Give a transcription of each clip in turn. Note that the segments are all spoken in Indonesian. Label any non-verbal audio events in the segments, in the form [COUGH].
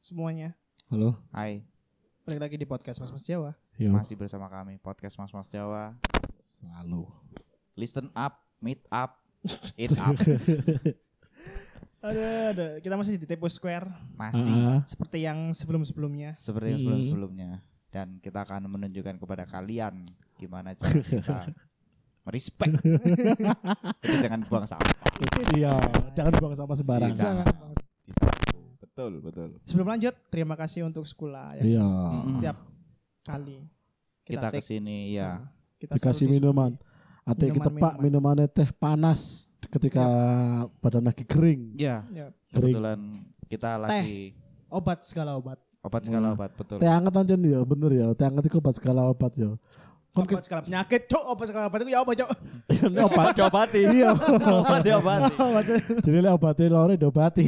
semuanya. Halo. Hai, Balik lagi di podcast Mas Mas Jawa. Yo. masih bersama kami podcast Mas Mas Jawa. Selalu. Listen up, meet up, eat [LAUGHS] up. Ada, ada. Kita masih di Tepo Square Masih Ah, Iya. seperti yang sebelum-sebelumnya. seperti yang sebelum-sebelumnya dan kita akan menunjukkan kepada kalian gimana cara [LAUGHS] kita merespek. Jadi jangan buang sampah iya, jangan buang sampah sembarangan. Iya, jangan. di saku. Betul, betul. Sebelum lanjut, terima kasih untuk sekolah yang Iya. setiap kali Kita take, Hmm, kesini Ah. ya. kita Dikasih selalu di- minuman. Ati Minuman, ketepak minuman. minumannya teh panas ketika badan lagi kering. Ya, Ya, Kering. kebetulan kita lagi obat segala obat. obat segala obat, betul. Iya. Teh anget aja nih ya, bener ya. Teh anget itu obat segala obat ya. Kan Obat segala penyakit, cok, obat segala obat itu ya obat, cok. kita- Ini obat. [LAUGHS] Diobati. Iya. Diobati, obati. [LAUGHS] Jadi lah obatnya lore diobati.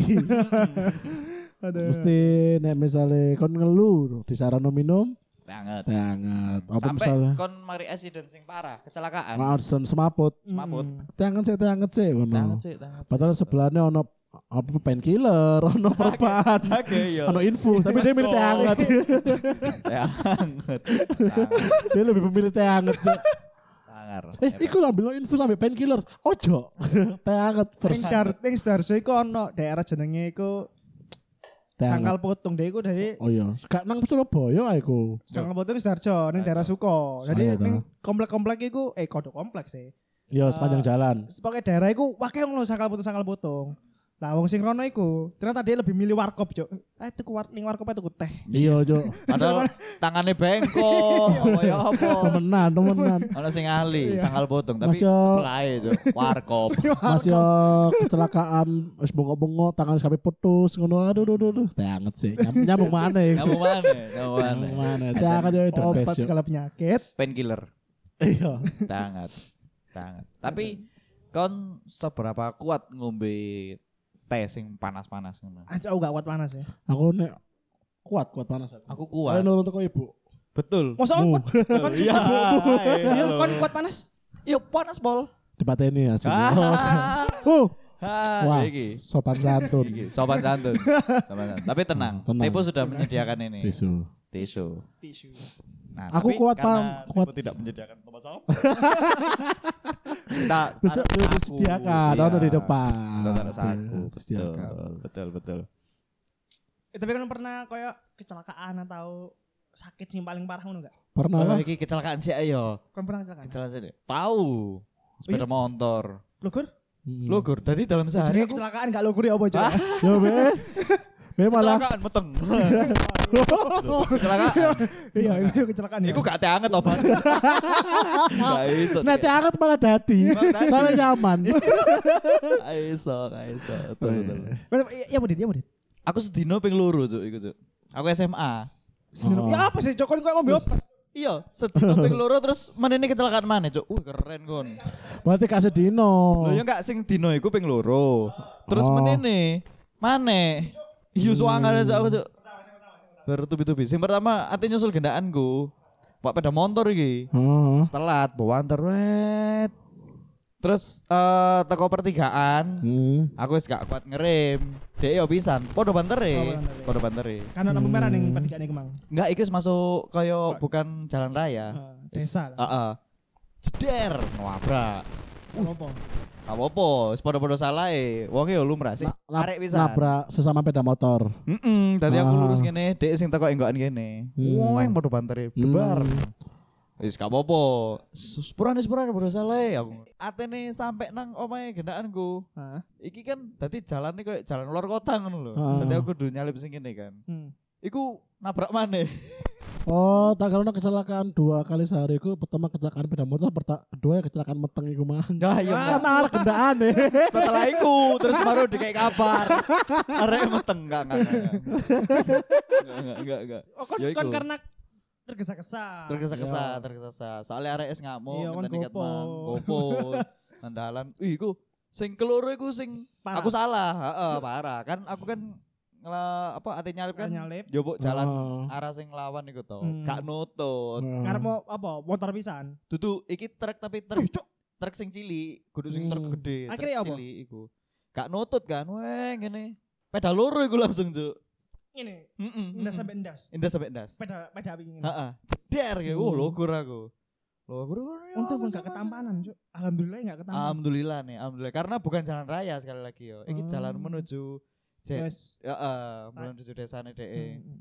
Mesti nek misalnya kon ngeluh disaran minum Banget. teh anget. Apa Sampai misalnya? kon mari accident sing parah, kecelakaan. Arsen semaput. Mabut. Teh anget sih, teh anget sih. ngono. Tangan sih, tangan sih. Padahal sebelahnya ono apa painkiller, [LAUGHS] ono perban, Oke, Iya. ya. [LAUGHS] ono info, tapi dia milih teh hangat. Sangat. [LAUGHS] dia lebih memilih teh hangat. [LAUGHS] Sangar. eh, iku lah bilang info sampai painkiller. Ojo. [LAUGHS] teh hangat Ning first. Sidoar- ning Sidoarjo iku ono daerah jenenge iku Teh hangat. Sangkal Putung deh iku dari Oh iya, gak nang Surabaya ah, iku. Sangkal Putung Sidoarjo ning daerah Suko. Saya Jadi tahu. ning komplek-komplek iku eh kodok kompleks sih. Ya Ah. sepanjang jalan. sebagai daerah iku wakil ngono sakal putung sakal putung. Lah wong sing rono iku ternyata dia lebih milih warkop, Cuk. Eh tuku war ning warkop tuku teh. Iya, Ojo. Padahal tangannya bengkok. Apa ya apa. Temenan, [LAUGHS] temenan. Ono sing ahli, sangal potong tapi Mas, yo. sebelah itu [LAUGHS] warkop. Mas [LAUGHS] yo eh, kecelakaan wis bengok-bengok tangan sampai putus ngono aduh aduh aduh, aduh teh hangat sih Nyam- nyambung mana ya Kamu mana? Kamu mana? nyambung mana teh hangat ya udah Obat best yo. segala penyakit. Painkiller. iya Tangat. Tangat. Tapi kon seberapa kuat ngombe teh sing panas-panas ngono? Aja aku gak kuat panas ya. aku nek kuat kuat panas aku Aku Ayo kuat. nurun teko ibu Betul. Masa aku kuat? Kon [LAUGHS] Iya. iya, kon kuat panas? Yuk panas bol. dipateni ya sini. [LAUGHS] Ah. Oh. Ah, Wah, iki. sopan santun. Iki, Iya, Sobat santun. Sobat santun. Tapi tenang, Hmm, Tenang. Tepo sudah menyediakan ini. Tisu. Tisu. Tisu. Nah, Aku kuat, karena Pam. Kuat. Tepo tidak menyediakan tempat sampah. Kita Besok taruh lu saku. disediakan, Iya. ono di depan. Kita taruh saku. Oke, disediakan. Betul, betul, betul. Eh, tapi kan pernah koyo kecelakaan atau sakit sing paling parah ngono enggak? Pernah Kalau lah. iki kecelakaan sih ayo. Kon pernah kecelakaan? Kecelakaan sih. Tahu. Sepeda motor. Lugur? Lu Logur, iya. tadi dalam sehari Jadi aku Ah. kecelakaan gak lugur ya apa, Cuk? yo [LAUGHS] be. Be malah kecelakaan [LAUGHS] meteng. Loh, Kecelakaan. [LAUGHS] Iya, itu kecelakaan ya. Iku gak teh anget [LAUGHS] obat. Gak iso. nek teh hangat malah dadi. Malah dadi. Iya. Soalnya nyaman. Gak iso, gak iso. Oh, Betul, betul. Iya, Budit, iya, Budit. Aku sedino ping loro cuk iku cuk. Aku SMA. Sendiri. Ah. Oh. Ya apa sih, Cuk? Kon koyo ngombe obat. Iya, [LAUGHS] sedino ping loro terus menene kecelakaan mana cuk. Uh keren kon. Berarti gak sedino. Lho ya gak sing dino iku ping loro. Terus Oh. menene mana? Iya suangan cuk aku cuk. Bertubi-tubi. Sing pertama ati nyusul gendaanku. Pak pada motor iki. Heeh. Terus telat Hmm. bawa antar wet. Terus eh teko pertigaan. Hmm. Aku wis gak kuat ngerem. Dek yo pisan. Podo bantere. Oh, Podo bantere. Kan ana merah ning pendidikan Kemang. Enggak, itu masuk koyo bukan jalan raya. Eh, desa Is- Heeh. Jeder nabrak. Uh. Apa? Apa apa, wis padha-padha salah e. Wonge yo lumrah sih. Lab- Arek pisan. Nabrak sesama sepeda motor. Heeh, dadi aku Ah. Hmm. lurus ngene, dek sing teko enggokan kene. Woeng padha bantere bebar. Wis gak apa-apa. Sepurane sepurane padha salah e aku. Atene sampe nang omahe gendakanku. Hah? Iki kan dadi jalane koyo jalan luar kota ngono lho. Ah. Dadi aku kudu nyalip sing kene kan. Hmm. Iku nabrak maneh. Oh, tak kalau kecelakaan dua kali sehari ku pertama kecelakaan sepeda motor, perta- kedua ya kecelakaan meteng iku [LAUGHS] mah. Ya iya. Kan arek gendaan eh. setelah itu terus baru dikek kabar arek meteng enggak enggak enggak enggak enggak enggak Oh, kon, Ya iku. kon karena tergesa-gesa. Ah, tergesa-gesa tergesa-gesa soalnya arek es ngamuk Iya, kan ngenteni ket gopo. mang. iya. gopo nandalan ih iku sing keloro iku sing Parah. aku salah heeh parah kan aku kan ngela apa ate nyalip kan Nyalip. njobok [LAUGHS] jalan Oh. arah sing lawan iku to Hmm. gak nutut Karena mau apa? Motor pisan. dudu iki truk tapi truk truk sing cilik kudu sing truk Hmm. gede truk Akhirnya apa? cilik iku gak nutut kan weh ngene pedal loro iku langsung cuk ini Heeh. ndas sampai ndas Indah sampai ndas. peda peda api ini Heeh. Jeder ya. Wah, logur aku. Logur. Hmm. ya untung pun gak ketampanan cuk alhamdulillah gak ketampanan Alhamdulillah nih, alhamdulillah. Karena bukan jalan raya sekali lagi yo. Ini Ah. jalan menuju Jet. Yes. Ya, eh, menuju desa nih deh. Hmm.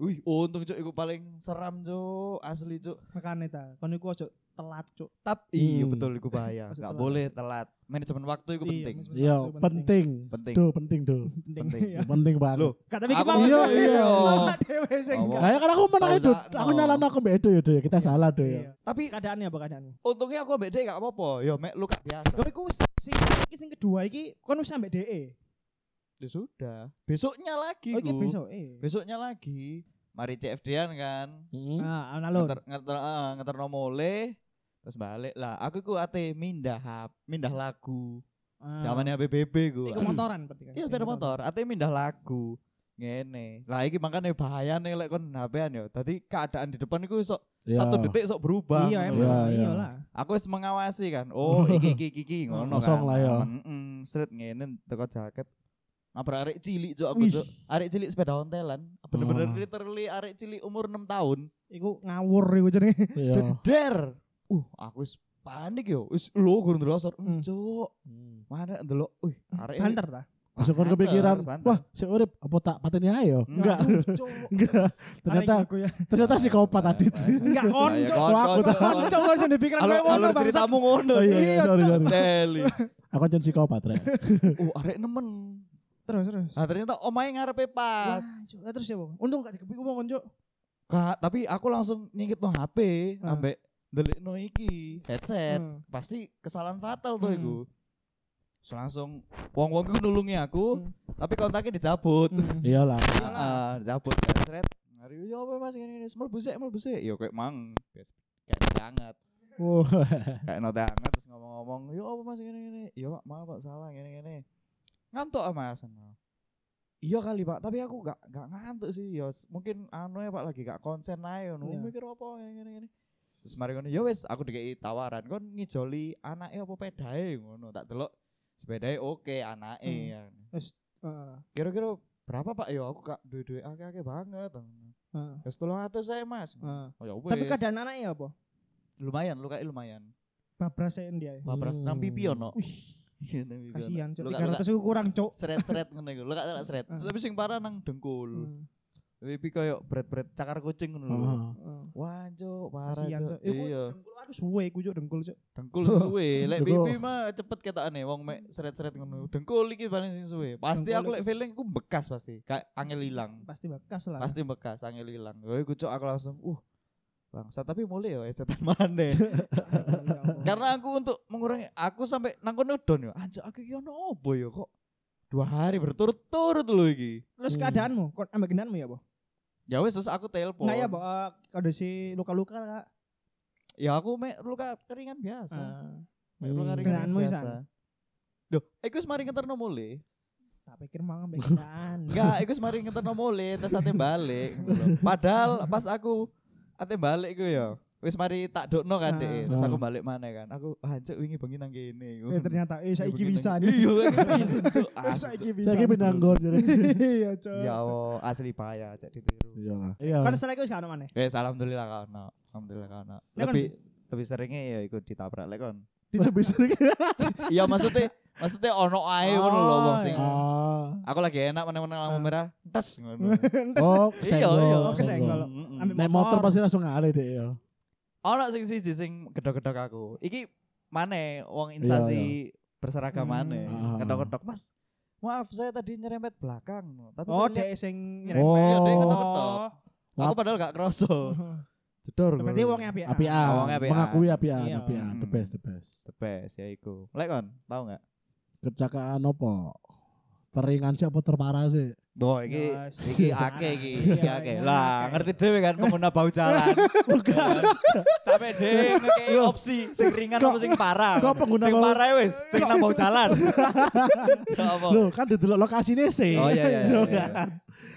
Wih, untung cuk, iku paling seram cuk, asli cuk. makanya ta kon iku ojo telat cuk Tap, iya Hmm. betul, iku bahaya. Masuk Gak telat. boleh telat. Manajemen waktu iku Iya, penting. manajemen- Iya, penting. Penting. Duh, penting duh. penting Penting. [LAUGHS] ya penting banget. Loh, kata mikir Aku- banget iya, Cuk. iya. Malah dhewe sing Ngomong. gak- Kayak kan aku menang itu, Sausakno. aku nyala aku mbak itu ya duh, kita salah duh ya. Iya. tapi keadaannya apa keadaannya untungnya aku ambek dek gak apa-apa. Yo, mek lu gak biasa. Kau iku sing iki sing kedua iki kon wis sampe E. DE. Ya sudah. Besoknya lagi. Oh iki Gu. besok eh. Besoknya lagi. Mari CFD-an kan. Hmm. Nah, alon Ngeter ngeter eh, ngeterno mole terus balik lah. Aku iku ate mindah hap- mindah lagu. Zamannya BBB Ah. iku gua. motoran berarti kan. Iya sepeda motor, ate mindah lagu. Ngene. Lah iki makane bahayane lek kon HP-an yo. Dadi keadaan di depan iku sok Iya. satu detik sok berubah. Iya ngono lho. emang Iya, iya iya. lah. Aku wis mengawasi kan. Oh, iki iki iki, iki ngono kan. Kosong lah, ya. Aman, mm, seret ngene teko jaket. Apa arek cilik cok aku Wih. cok. Arek cilik sepeda ontelan. Bener-bener Oh. literally arek cilik umur 6 tahun. Iku ngawur iku jenenge. Iya. Jeder. Uh, aku wis panik yo. Wis lho kurang ndelok. Hmm. Cok, mana ndelok. Wih, arek [LAUGHS] ini Banter ta. Langsung kan Banter, kepikiran, banter. wah si Urip apa tak pateni ayo? Hmm. Enggak, Cuk. enggak. Ternyata Arek iku [LAUGHS] ya. gitu. ternyata psikopat tadi. Iya, Enggak konco. Wah, aku Konco. Konco kok sing dipikiran Alur, kowe ngono alur bangsat. ceritamu ngono. Oh iya, iya, sorry, Cuk. sorry. Teli. Aku jadi psikopat, Rek. Uh, arek nemen. Terus terus. Nah, ternyata omae ngarepe Wah, pas. Cuk. Lah, terus ya, Bang. Untung gak dikepik wong konco. Kak, tapi aku langsung nyingkit no HP Ah. ambek delikno iki headset. Hmm. Pasti kesalahan fatal tuh Hmm. iku. Terus langsung wong-wong iku nulungi aku, Hmm. tapi kontaknya dicabut. [LAUGHS] Hmm. Iyalah. Heeh, dicabut headset. Mari yo apa Mas ngene ngene semel busek semel busek. Yo Ya, kayak mang. Kayak nate anget. Wah. Kayak nate anget terus ngomong-ngomong, "Yo apa Mas ngene ngene?" "Yo Pak, maaf Pak salah ngene ngene." Ngantuk ah, Mas. Iya kali Pak, tapi aku gak gak ngantuk sih. Yo s- mungkin anu ya Pak lagi gak konsen ae ngono. Iya. Mikir apa ngene ngene ngene. Terus mari ngono, "Yo wis, aku dikei tawaran kon ngijoli anake apa pedae ngono." Tak delok sepedae oke anake Hmm. ya. Terus heeh. Kira-kira berapa Pak? Yo aku gak duwe-duwe akeh-akeh banget. heeh, Terus tolong atas saya mas. heeh. Oh, ya Hmm. Tapi wes. keadaan anaknya apa? lumayan, luka lumayan. Babrasnya dia. Babras Hmm. nang pipi ono. ya. Wih, Iya, kasihan cuk. Luka- 300 iku kurang cuk. Seret-seret ngono iku. Luka luka seret. Ah. Tapi sing parah nang dengkul. Hmm, Pipi koyo bret-bret cakar kucing ngono lho. Heeh. heeh. Wah, cuk, parah Hmm. Kasihan cuk. cuk. Iku Iya, dengkul aku suwe iku cuk dengkul cuk. dengkul [LAUGHS] suwe. Lek Iku. pipi mah cepet ketokane wong mek seret-seret ngono. Dengkul iki paling sing suwe. Pasti Dengkul aku lek feeling ku bekas pasti. Kayak angel ilang. Pasti bakas lah. [LAUGHS] pasti bekas angel hilang gue kucuk aku langsung uh bangsa tapi mulai ya setan maneh [LAUGHS] karena aku untuk mengurangi aku sampai nang kono down ya anjir aku iki ono opo ya kok dua hari berturut-turut lho iki Terus Hmm. keadaanmu, kon ambek genanmu ya, Bo? ya wes terus aku telepon Enggak ya, Bo. Eh, Kode si luka-luka Kak. ya aku mek luka keringan biasa Ah, mek luka Hmm. keringan Keringanmu biasa isan. Duh, iku wis mari ngeterno mule. tak pikir mang ambek [LAUGHS] genaan. Enggak, iku wis mari ngeterno mule terus ate balik. ngono lho. Padahal pas aku ate balik ku ya. Wis mari tak Ah. dokno kan dek. Terus aku balik mana kan. Aku hancur wingi bengi nang kene. Eh ternyata eh saiki Bengi bisa. nang- Iya, [LAUGHS] saiki bisa, Cuk. Eh, Ah, saiki bisa. Saya kira nanggur jadi. [LAUGHS] Iya, Cuk. Cuk. Ya Allah, asli payah cek ditiru. Iyalah. Iya. Kan selek wis gak ono maneh. Wes alhamdulillah kan. no. Alhamdulillah kan. no. Lek kon- Lebih lebih seringnya ya ikut ditabrak lek kon. Tidak bisa. [LAUGHS] Iya maksudnya maksudnya ono ae ngono lho wong sing. Ah. Aku lagi enak meneng-meneng lampu merah, tes ngono. Entes Oh, Iya, iya, kesenggol. kesenggol. kesenggol. Mm-mm. Ambil Nek motor pasti langsung ngale deh ya. Hmm. ono sing siji sing gedok-gedok aku. Iki maneh wong instansi berseragam Hmm. maneh. Ah. Gedok-gedok, "Mas, maaf saya tadi nyerempet belakang." Tapi Oh, saya lihat- dek sing Oh. nyerempet. Iya, dek ketok-ketok. Oh. Aku padahal gak kroso. Jedor. Berarti gua. wong apik. ah. APA, Awangnya APA. mengakui APA, Iya. APA, the Hmm. best, the best. the best ya iku. Lek kon, tau gak? Kecakaan opo? Teringan sih apa terparah sih? Doh, iki Yes. iki akeh iki, Iya, iki akeh. iya, Lah, akeh. ngerti dhewe kan pengguna bau jalan. Sampai dhewe ngekei opsi sing ringan apa sing parah. kok pengguna sing bau- parah ya wis, sing nang bau jalan. Ya apa? Loh, kan didelok lokasinya sih. Oh, iya, iya, iya, Loh, iya. kan?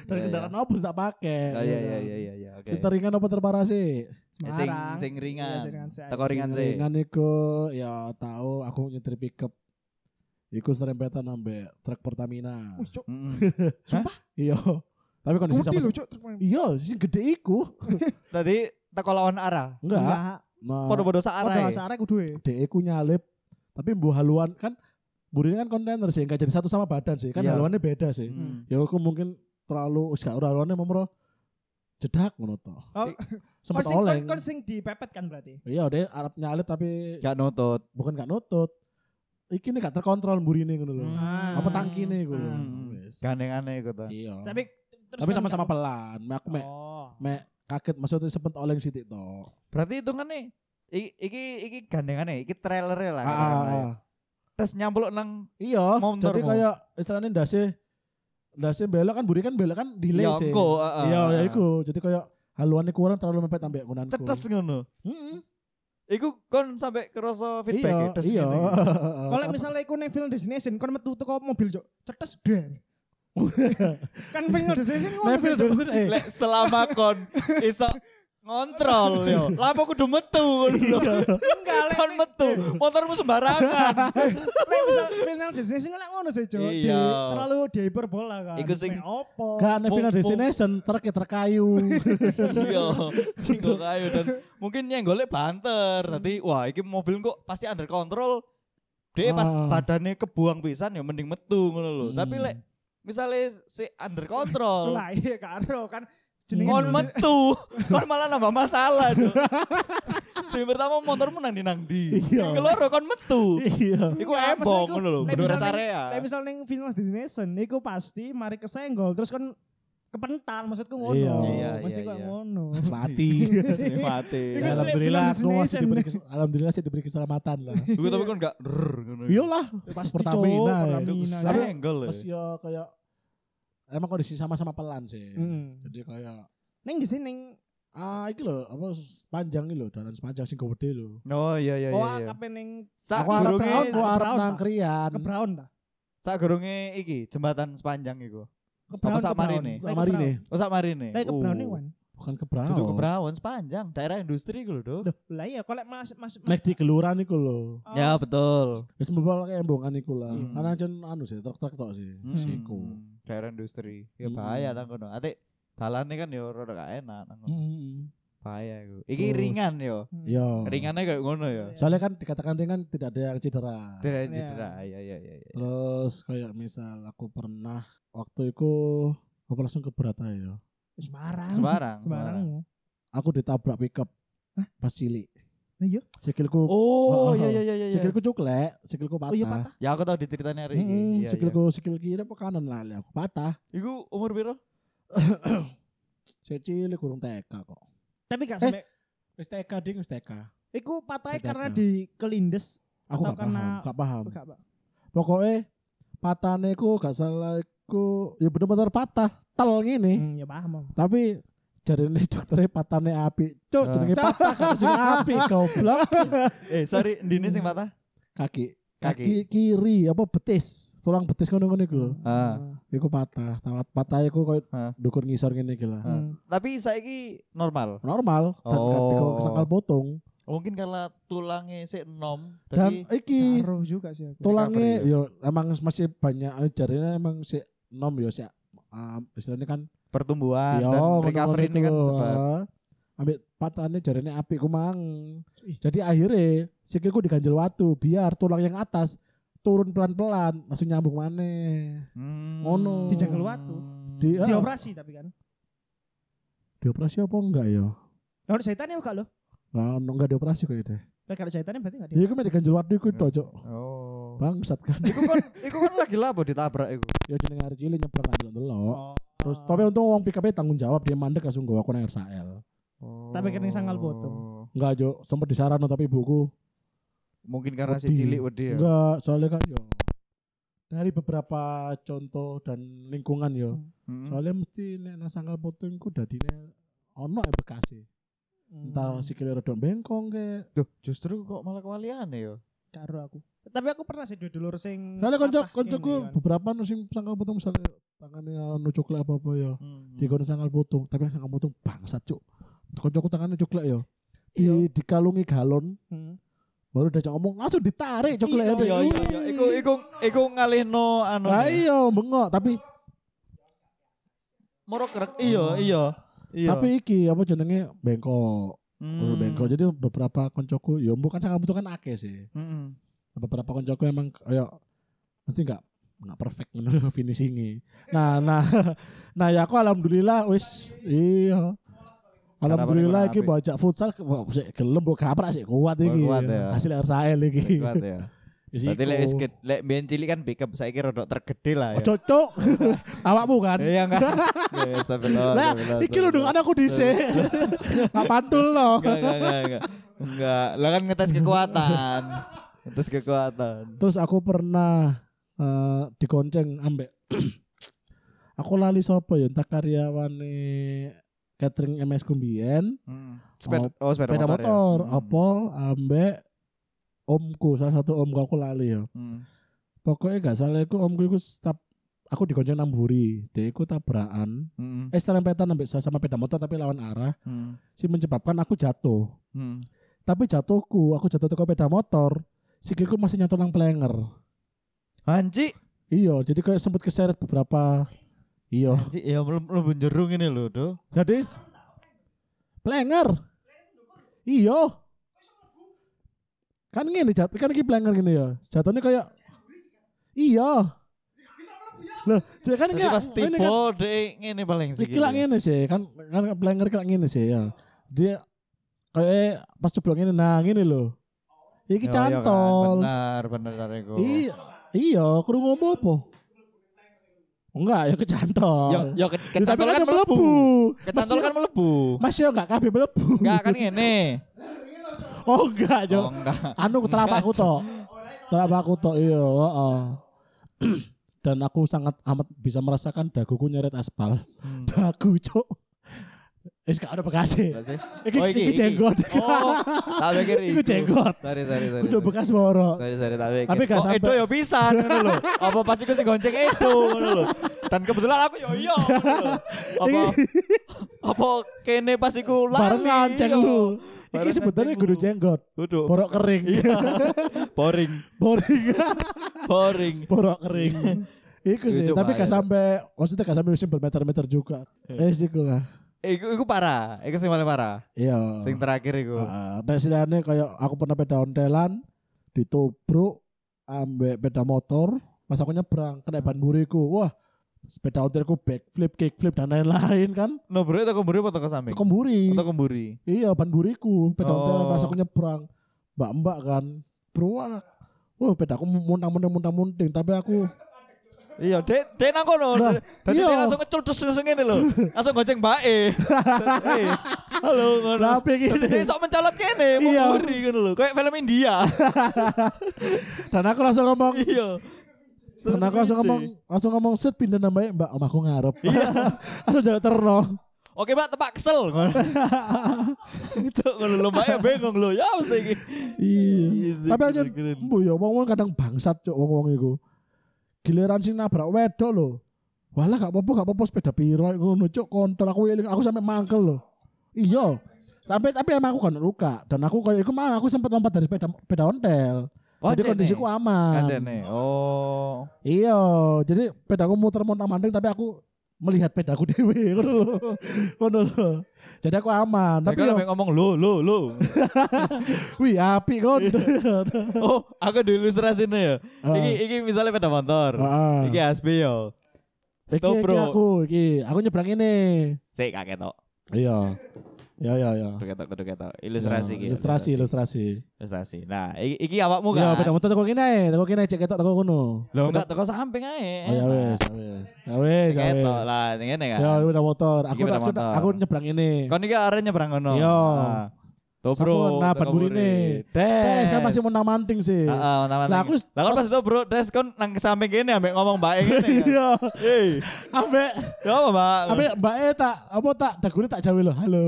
Dan Iya, kendaraan opo sih tak pakai. gitu kan? Oh, iya iya iya iya iya. Oke. Si teringan apa terparah sih? Eh, Sing Semarang. sing Iya, ringan. sing ringan sih. Teko ringan Si sih. Teringan iku ya tahu aku nyetir pickup. Iku serempetan ambek truk Pertamina. Wis, Cuk. Mm-mm. Iya. Tapi kondisi Kuti sama lho, Cuk. Iya, sing gede iku. Tadi teko lawan arah. Enggak. Nah, Podo-podo Padha searah. ya. asare kudu. eh. gede iku nyalip. Tapi mbuh haluan kan burine kan kontainer sih, enggak jadi satu sama badan sih. Kan Iya. haluannya beda sih. Hmm. Ya aku mungkin terlalu wis gak ora haluannya momro jedak ngono to. Oh, kon Sempet sing kon, oleng. kon Ya. sing dipepet kan berarti. Iya, dia Arab nyalip tapi Gak nutut. bukan gak nutut. Iki nih gak terkontrol burine ngono lho. Hmm. Apa tangki nih gue? Hmm. Gandengane iku to. Iya. Tapi terus Tapi kon- sama-sama pelan. Mek Aku mek Oh. mek kaget maksudnya sempet oleng sithik to. Berarti hitungane iki iki iki gandengane, iki trailer Iya, lah. Ah, ah, katakanlah. ah. Terus nyampluk nang Iya, Montor jadi mau. kayak istilahnya ndase ndase belok kan buri kan belok kan delay sih. Yongko, heeh. Iya, ya iku. Jadi kayak haluannya kurang terlalu mepet ambek gunanku. Cetes ngono. Heeh. Iku kon sampai kerasa Iya, feedback ya, iya. [LAUGHS] Kalau misalnya iku nang film destination kon metu teko mobil cuk, cetes deng. kan film destination Nah, ngono film sih, Cuk. Johnson, [LAUGHS] eh. Lek selama kon iso ngontrol yo. Lah apa kudu metu ngono lho. Enggak lek Kon metu, motormu sembarangan. lek misal final destination lek ngono sih cuk. Di- Iya. Terlalu dihiperbola kan. Iku sing- Mek opo? Gak ada final Pung- pung. destination, truk ya truk [LAUGHS] kayu. [LAUGHS] Iya, singgul kayu dan mungkin nyenggolnya banter. Hmm. Nanti wah iki mobil kok pasti under control. Dia pas Ah. badannya kebuang pisan ya mending metu ngono lho. Hmm. Tapi lek misalnya si under control, [LAUGHS] Lah iya karo kan kon metu, kon malah nambah masalah. [LAUGHS] Cuk. si pertama motormu nang di nang di. Iya. Sing keloro kon metu. Iya. Iku Enggak, maksudnya embong iku- ngono lho, lek kudu misal rest ning- area. Lek misal ning final destination niku pasti mari kesenggol terus kon kepental maksudku Iya. ngono. Iya, Mesti iya, kok iya. ngono. [LAUGHS] [LAUGHS] Mati. Mati. [LAUGHS] Iku Dalam- Iya. Alhamdulillah film aku masih destination. diberi kes- alhamdulillah sih diberi keselamatan [LAUGHS] lah. Iku Iya. tapi kon gak rrrr, ngono. Iyalah, Pasti Pertamina, ya. Pertamina. Tapi- Senggol. pas ya kayak emang kondisi sama-sama pelan sih. Hmm. Heeh. Jadi kayak Ning di sini ning ah iki lho apa sepanjang iki lho dalan sepanjang sing gede lho. Oh iya iya oh iya. iya. kape ning Sak aku arep durunge- tahun gurunge aku arep Brown, nang Pak. krian. ke Brown ta? sak gurunge iki jembatan sepanjang iku. Ke Apa sak Lek marine? ke Kamari Brown. nih, Oh sak marine. Lek ke Oh. Brown ning kan. bukan ke Duduk ke Brown. Brawan sepanjang daerah industri iku lho, Dok. Loh, lah iya kok lek mas mas Mek di geluran iku lho. oh, Ya betul. Wis mbebal kayak embongan iku lah. Hmm. Karena jen anu sih truk-truk tok sih. Hmm, Siku. Daerah industri. Ya Hmm. bahaya nang kono. Ate balane kan yo rada gak enak nang kono. Hmm. Bahaya iku. Iki Terus. Hmm. ringan yo. Yo. Ringannya kayak ngono ya. Soalnya kan dikatakan ringan tidak ada yang cedera. Tidak ada Iya. cedera. Iya iya iya. iya. Terus kayak misal aku pernah waktu itu aku langsung ke Berata ya. Semarang. Semarang. Semarang. Semarang. Aku ditabrak pickup pas cilik. Lah iya. Sikilku Oh Oh, oh. iya iya iya iya. sikilku cuklek, sikilku patah. Oh iya patah. Ya aku tahu diceritain Mm, hari ini. Iya, iya. sikilku sikil kiri apa kanan lah lah, aku patah. Iku umur piro? Saya cilik kurung TK kok. Tapi gak Eh. sampe Wis TK ding wis TK. iku patahnya eh, Sedap, karena ya. di kelindes. Aku Atau gak paham, karena- gak paham. Gak, Pak. Pokoknya patahnya ku gak salah ku ya bener-bener patah tel ngene. Hmm, ya paham. Om. Tapi jarine dokternya patahnya api. Cuk, Ah. jenenge patah gak sing api goblok. Eh sorry, Dini Hmm. sing patah. Kaki. Kaki Kaki. kiri apa betis, tulang betis ngono-ngono iku Hmm. lho. Ah. Iku patah, tawat patah iku koyo Ah. dukur ngisor ngene iki lah. Hmm. Tapi saiki normal. Normal dan gak Oh. dikau kesangkal potong. Mungkin karena tulangnya si enom. Dan Tapi iki Karo juga sih aku. tulangnya recovery yo emang masih banyak eh, jarinya emang si nom yo si um, istilahnya kan pertumbuhan yo dan recovery ini kan cepat. ambil patahnya jarinya api kumang Ih. jadi akhirnya sikilku diganjel watu biar tulang yang atas turun pelan-pelan langsung nyambung maneh Hmm. Ngono. Dijangkel watu. Di- Di operasi tapi kan. dioperasi apa enggak yo Nah, jahitannya enggak loh. Nah, ono enggak dioperasi kok itu. Lek kalau jahitannya berarti enggak Ya dia. iku mek diganjel watu iku tok, Cok. Oh. Bangsat kan. Iku kan, iku kan lagi labo ditabrak iku. [LAUGHS] Ya jeneng arek cilik nyebrang ndelok delok. Oh. Terus tapi untung wong pick-up-e tanggung jawab dia mandek langsung gua aku nang RSL. Oh. Tapi kena sangal botong. Enggak, Cok, sempat disarano tapi ibuku Mungkin karena si Wedi. cilik wedi ya. Enggak, soalnya kan yo dari beberapa contoh dan lingkungan yo. Hmm. Soalnya mesti nek nang sangkal puting ku dadine ono e bekase. Hmm. Hmm. Entah sikile rada bengkong ke. Duh, justru kok malah kewalian ya. karo aku. Tapi aku pernah sih dulur sing Soalnya konco patah koncoku ini kan. beberapa nu sing sangkal puting misalnya tangannya anu coklat apa-apa yo. Hmm. Di kono sangkal puting, tapi sangkal puting bangsat cuk. Koncoku tangannya coklat yo. Iya. ya, Di, dikalungi galon Hmm. baru udah ngomong langsung ditarik coklat Iya, iya, iya. Iku iya, iku iku ngalihno anu. Lah iya bengok tapi moro kerek. Iya, iya. Iya. Tapi iki apa jenenge bengkok. hmm. Guru bengkok. Jadi beberapa koncoku ya bukan sangat butuhkan akeh sih. Mm-mm. Beberapa koncoku emang kayak mesti enggak enggak perfect menurut [LAUGHS] finishingnya. Nah, nah [LAUGHS] nah ya aku alhamdulillah wis iya. Alhamdulillah iki bajak Harapannya futsal wah, sik gelem mbok gaprak sik kuat iki. Kuat ya. Hasil RSAL iki. Kuat ya. [LAUGHS] Wis Berarti lek iku. wis ged- lek mbiyen cilik kan backup saiki rodok tergede lah ya. Ojo [LAUGHS] cok. Awakmu kan. Iya enggak. Ya, astagfirullah, [LAUGHS] Lah, astagfirullah, iki lho dong astagfirullah. anakku dhisik. Gak pantul loh. Enggak, enggak, enggak, enggak. Enggak, lah kan ngetes kekuatan. Ngetes kekuatan. Terus aku pernah eh, digonceng ambek [CLEARS THROAT] aku lali sopo ya entah karyawane catering MS Kumbien, Hmm. Sepeda, oh, sepeda, sepeda motor. ya? motor, Hmm. apa ambek omku salah satu omku aku lali ya. Hmm. Pokoknya gak salah aku omku iku stap aku digonceng nang mburi, dia iku tabrakan, Hmm. eh serempetan ambek sa- sama sepeda motor tapi lawan arah, Hmm. sih menyebabkan aku jatuh. Hmm. Tapi jatuhku, aku jatuh ke sepeda motor, sikilku masih nyentuh nang plenger. Anji, Iya, jadi kayak sempat keseret beberapa. Iya. anji, ya belum belum jerung ini loh, do. Jadi s- plenger. Iya. Kan ngene jat, kan iki plenger gini ya. Jatuhnya kayak Iya. Loh, jadi kan Jadi kayak pas gitu ya. ini tipe kan deh ini paling sih. sikil ngene sih, kan kan plenger kayak ngene sih ya. Dia kayak pas ceblok ngene nah ngene lho. Iki cantol. kan. Ya, Benar, benar karego. Iya, iya, kerungu apa? Enggak, ya kecantol. Yo, yo ke, Ya, tapi kecantol kan ada melebu. Kecantol Masih- kan melebu. Mas yo gak kabeh mlebu. Enggak kan ngene. [LAUGHS] Oh enggak, Jo. Oh, enggak. Anu telapaku tok. Telapaku tok iya, heeh. [CLEARS THROAT] Dan aku sangat amat bisa merasakan daguku nyeret aspal. [LAUGHS] Hmm. Dagu, Cuk. Wis gak e. ada bekasnya. Enggak sih. Iki, iki, jenggot. Oh, tak pikir Iku jenggot. Sorry, sorry, sorry. Udah sorry. bekas moro. Sorry, sorry, tak pikir. Tapi gak oh, sampai- Edo ya [LAUGHS] bisa ngono lho. Apa pasti ku sing gonceng Edo ngono lho. Dan kebetulan aku yo iya ngono lho. Apa apa kene pas iku lali. Iya. Barengan ceng yo. lu. Iki Barengan sebenarnya cengku. kudu jenggot. Duduk. Borok kering. Iya. Boring, [LAUGHS] [LAUGHS] Boring. boring. Borok kering. Iku sih, Itu tapi gak bahaya. sampai maksudnya gak sampai sing bermeter-meter juga. Iya. Eh, sih iku lah. Iku iku parah. Iku sing paling parah. Iya. Sing terakhir iku. Heeh, Nek istilahnya kayak aku pernah peda ontelan ditubruk ambek peda motor, pas aku nyebrang kena ban buriku. Wah, sepeda ontelku backflip, kickflip dan lain-lain kan. No bro, toko mburi apa toko samping? Teko buri. Toko mburi. Iya, ban buriku, peda Oh. ontelan pas aku nyebrang. Mbak-mbak kan, bro. Wah, wah, pedaku muntang-munting muntang-munting, tapi aku Iya, dek dek nang kono. Lah, Dadi iya. dia langsung ngecul terus langsung ngene lho. Langsung gonceng bae. Eh, Halo ngono. tapi Dadi gini. dia sok mencolot kene, mau Iya. mburi ngono lho. Kayak film India. [LAUGHS] Dan aku langsung ngomong, Iya. dan aku langsung ngomong, langsung ngomong set pindah namanya Mbak, om aku ngarep. [LAUGHS] langsung jalan terno. Oke, Mbak, tempat [LAUGHS] kesel. ngono. Cuk, ngono lho, Mbak ya bengong lho. Ya wis iki. Iya. Iya, Tapi aja keren. mbu ya wong-wong kadang bangsat cuk wong-wong iku. Giliran sing nabrak wedok lho. Walah gak apa-apa, gak apa-apa sepeda piro ngono cuk kontol aku eling aku sampe mangkel lho. Iya. Sampai tapi emang aku kan luka dan aku kayak iku mah aku sempat lompat dari sepeda sepeda ontel. Oh, jadi jene. kondisiku aman. Kacene. Oh. Iya, jadi pedaku muter montang manting tapi aku melihat pedaku [LAUGHS] dewe ngono lho. Ngono lho. Jadi aku aman, Tapi tapi yo ngomong lo lo [LAUGHS] lo. wih api ngono. Oh, aku di ilustrasinya ya. Ah. [LAUGHS] Iki iki misalnya sepeda motor. Heeh. Iki asbi yo. Iki, Stop, iki bro. aku, iki. Aku nyebrang ini. Sik kaget tok. Iya. Ya ya ya. Kudu ketok kudu ketok. Ilustrasi Ya, iki. Ilustrasi, ilustrasi. Ilustrasi. Nah, iki, iki awakmu Iya, kan. beda motor teko kene, teko kene cek ketok teko kono. Lo enggak teko samping ae. Oh, ya wes, ya wes. Ya wes, ya wes. Eh, Ketok lah ngene kan. Ya beda motor. Aku Iki beda aku, motor. aku nyebrang ini. Kon iki arek nyebrang kono. Iya. Nah, Dobro. Sampun, nah, ban burine. Tes kan masih mentang manting sih. Eh. Heeh, Lah, aku- Lah kon pas dobro, Des kon nang samping kene ambek ngomong bae ngene. kan. [LAUGHS] Iya. Hei, Ambek ya apa, Mbak? [LAUGHS] ambek Mbak E tak apa tak dagune tak jawi lho. Halo.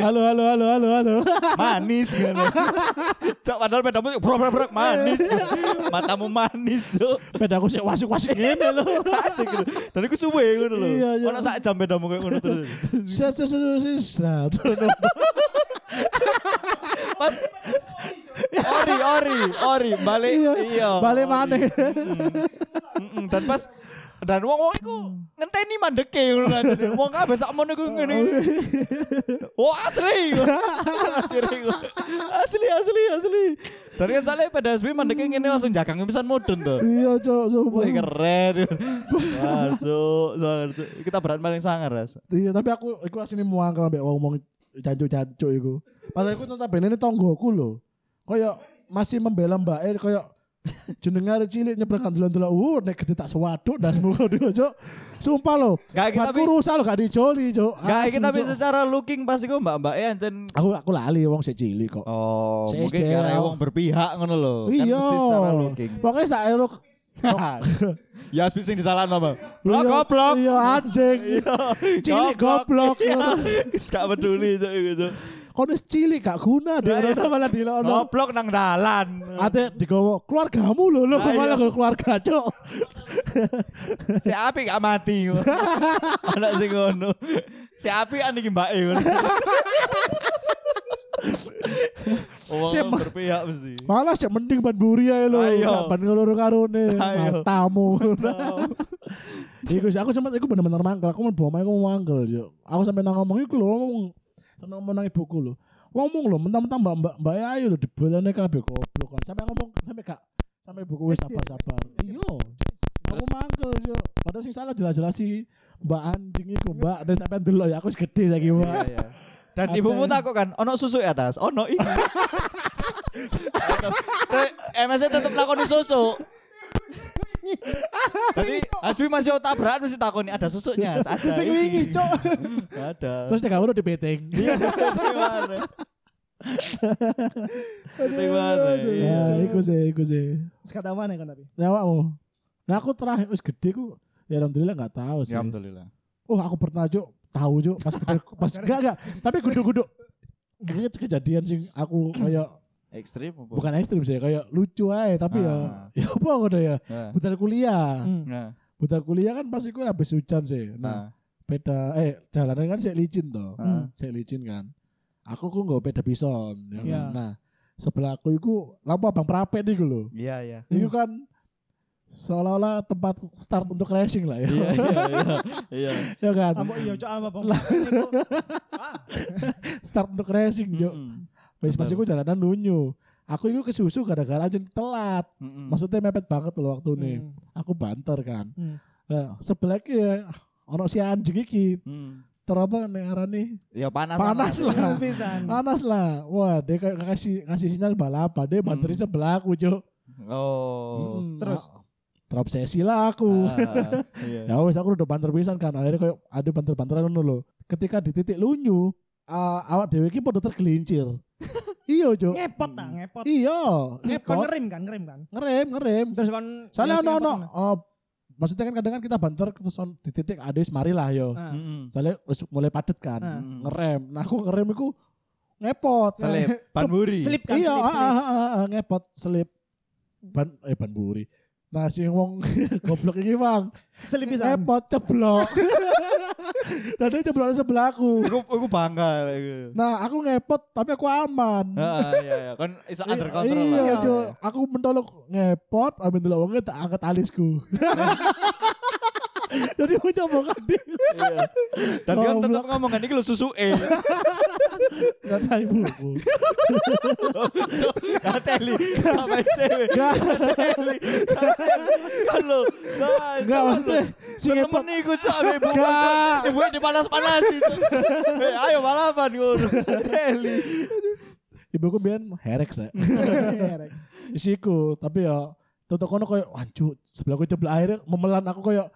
Halo halo halo halo halo. Iya. manis [LAUGHS] gitu. Cok padahal pedamu brok-brok manis. Matamu manis, Cok. Pedaku sik wasik-wasik ngene lho. [LAUGHS] Asik gitu. Dan aku suwe ngono lho. Iya, iya. Ono sak jam pedamu kayak ngono terus. Set set set set, Nah, set. Pas ori ori ori balik iya. Balik ori. maneh. Mm-mm, Dan pas Dan wong-wong iku ngenteni mandeke ngono lah jadi. Wong kabeh sakmono iku ngene. iya. Oh asli. Akhirnya iku. asli asli asli. Dari kan soalnya pada SB mandeke ngene langsung jagang pisan mudun tuh. Iya cok, sumpah. Wih keren. Sangar, Cuk. Sangar, Cuk. Kita berat paling sangar, Ras. Iya, tapi aku iku asine muangkel ambek ngomong jancuk-jancuk iku. Padahal iku notabene ini tonggoku lho. Kayak masih membela Mbak Er, El kayak jenengar cilik nyebrang kandulan-dulan. Uh, nek gede tak sewaduk dasmu kok dia, Cuk. Sumpah lho. Nggak, iki Batku tapi- rusak lho gak dijoli, Cuk. Gak, Asu, kita tapi Cuk. secara looking pasti kok mbak-mbak ya ancen Aku aku lali wong sik cilik kok. Oh, Se- mungkin SD karena lah. wong berpihak ngono lho. Oh, Kan Iya. mesti secara looking. [LAUGHS] Pokoknya sak elok ya speak sing disalahno, Bang. Blok Iya, goblok. Iya anjing. [LAUGHS] Cilik [LAUGHS] goblok. Wis gak peduli cuk iku, cuk. Kono cilik gak guna dia malah dilono. Goblok nang dalan. Hmm. Ate digowo keluargamu lho lho Lah, malah iya. ke keluarga [LAUGHS] cok. Si api gak mati. [LAUGHS] Anak sing ngono. Si api an iki mbake [LAUGHS] ngono. Wong Sip. berpihak mesti. [LAUGHS] Malah sih mending ban buri ae lho. Ayo. Ban ngeloro karone Ayo. matamu. [LAUGHS] Iku sih aku sempat iku bener-bener mangkel, aku mau bawa aku mau mangkel cok. Aku sampai nang ngomong iku lho ngomong sampai ngomong nang ibuku lho. Ngomong lho mentang-mentang Mbak Mbak Mbak ayo lho dibolane kabeh goblok kan. Sampai ngomong sampai gak sampai ibuku wis sabar-sabar. Iya. Aku mangkel cok. Padahal sing salah jelas-jelas sih Mbak anjing iku Mbak nek sampean delok ya aku wis gede saiki Mbak. Iya, iya. Dan ibumu Ada- takut kan, ono susu ya atas, ono iki. [LAUGHS] MS tetep lakoni susu. Tadi Asbi masih otak berat mesti takoni ada susuknya. Ada Sing iki. wingi, Cuk. Ada. Terus nek udah dibeting. [LAUGHS] Iya, gimana? Gimana? Iya. Ya, iku sih, iku sih. Sekata mana kan tapi? Nyawamu. Nah aku terakhir wis gede ku ya alhamdulillah nggak tahu sih. Ya alhamdulillah. Oh aku pernah Cuk, tahu Cuk pas bener- [LAUGHS] pas enggak enggak, tapi guduk-guduk. Ini kejadian sih aku kayak Ekstrim apa? bukan ekstrim sih kayak lucu aja tapi ya Ah. [LAUGHS] ya apa ngono ya Nah. butal kuliah Hmm. Nah. butal kuliah kan pas iku habis hujan sih nah Nah. peda eh jalanan kan saya licin toh Ah. saya licin kan aku kok nggak peda bison Iya. ya kan? nah sebelah aku iku lampu abang prapet iku loh Iya, iya. Itu kan seolah-olah tempat start untuk racing lah ya. Iya, iya, iya. Iya. [LAUGHS] ya kan? Ambo iya, Cuk, ambo Bang. Ah, Start untuk racing, Jok. Mm-mm. Wis pas bener. iku jalanan lunyu. Aku itu kesusu gara-gara aja telat. Mm-mm. Maksudnya mepet banget loh waktu [LAUGHS] ini. Mm. Hmm. Aku banter kan. Hmm. Nah, sebelah ya ono si anjing iki Mm. terapa nih arane Ya panas. Panas lah. Terus Mm. pisan. panas lah wah dia kayak ngasih ngasih sinyal balapan dia banteri Hmm. sebelah aku cok Oh. Mm, Terus? ah, terobsesi lah aku Ah, [LAUGHS] iya. ya wes aku udah banter pisan kan akhirnya kayak ada banter banteran ngono lho ketika di titik lunyu ah, awak dewe iki podo [LAUGHS] tergelincir iya jo Ngepot ta, ngepot. iya Kon repot ngerim kan, ngerim kan. ngerem ngerem Terus kon soalnya iya, ono sing ono ngepot, kan? eh, maksudnya kan kadang kan kita banter terus on- di titik ada mari lah yo Ah. Mm-mm. soalnya wis mulai padet kan Ah. Mm-mm. ngerem nah aku ngerem iku ngepot Selip, Panburi. Slip kan, [LAUGHS] iya slip, ah, slip. ah, ah, ah, ngepot selip ban eh ban buri nah si wong [LAUGHS] goblok iki bang Slip pisan. [LAUGHS] Repot ceblok. [LAUGHS] Dan dia ceblok di sebelahku. Aku aku bangga. Aku. Nah, aku ngepot tapi aku aman. Ah, iya iya kan bisa I- under control iya, lah. ya. Jo. Aku mentolok ngepot, ambil dulu wongnya tak angkat alisku. [LAUGHS] Jadi aku nyoba kan dia. Iya. Tapi kan Goblok. tetap ngomong kan ini lo susu [LAUGHS] eh. Gak tahu ibuku. Gak teli. Gak main cewek. Gak, Teli. Gak teli. Kan lo. gak maksudnya. Si ngepot. Temen iku cok abe ibu Gak. kan ibu dipanas panasin. Eh ayo balapan ngono. Teli. Ibuku biar herek saya. Isiku. Tapi ya. Tutup kono koyo ancu sebelahku ceblok akhirnya memelan aku koyo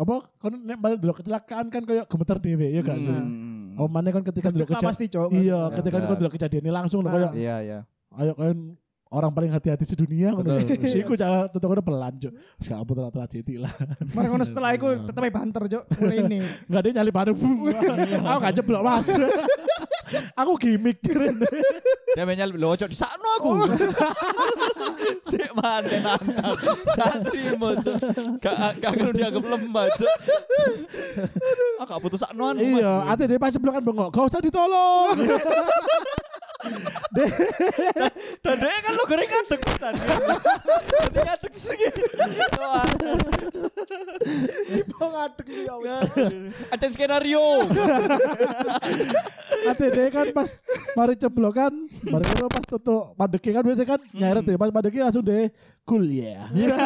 apa kono nek balik dulu kecelakaan kan koyo gemeter dhewe ya gak sih. Hmm. Oh mana kan ketika dulu Cuk, lah kejadian pasti, Cuk. Iya, Ya, ketika benar. kau dulu kejadian ini langsung loh kayak Iya iya. ayo kalian orang paling hati-hati sedunia ngono. Betul. Wis iku cara tutuk udah pelan, Cuk. Wis gak apa telat telat citi lah. Mereka ngono setelah iku tetep ae banter, Cuk. Mulai ini. Enggak ada nyali baru. Iya. Aku gak jeblok, Mas. [LAUGHS] Aku gimmick Iya. keren. Dia menyal lo cok di sana aku. [LAUGHS] Si mana nantang. Gak terima cok. Gak gak perlu dianggap lemah cok. Ah gak putus sakno anu mas. Iya, ate dia pas jeblok kan bengok. Gak usah ditolong. Iya. Dan dia kan lo goreng ngadeg pisan. Dadi ngadeg sing. skenario. ATD kan pas mari ceblokan, mari karo pas tutup padeki kan biasanya Hmm. kan nyeret ya, pas padeki langsung deh cool ya. Iya.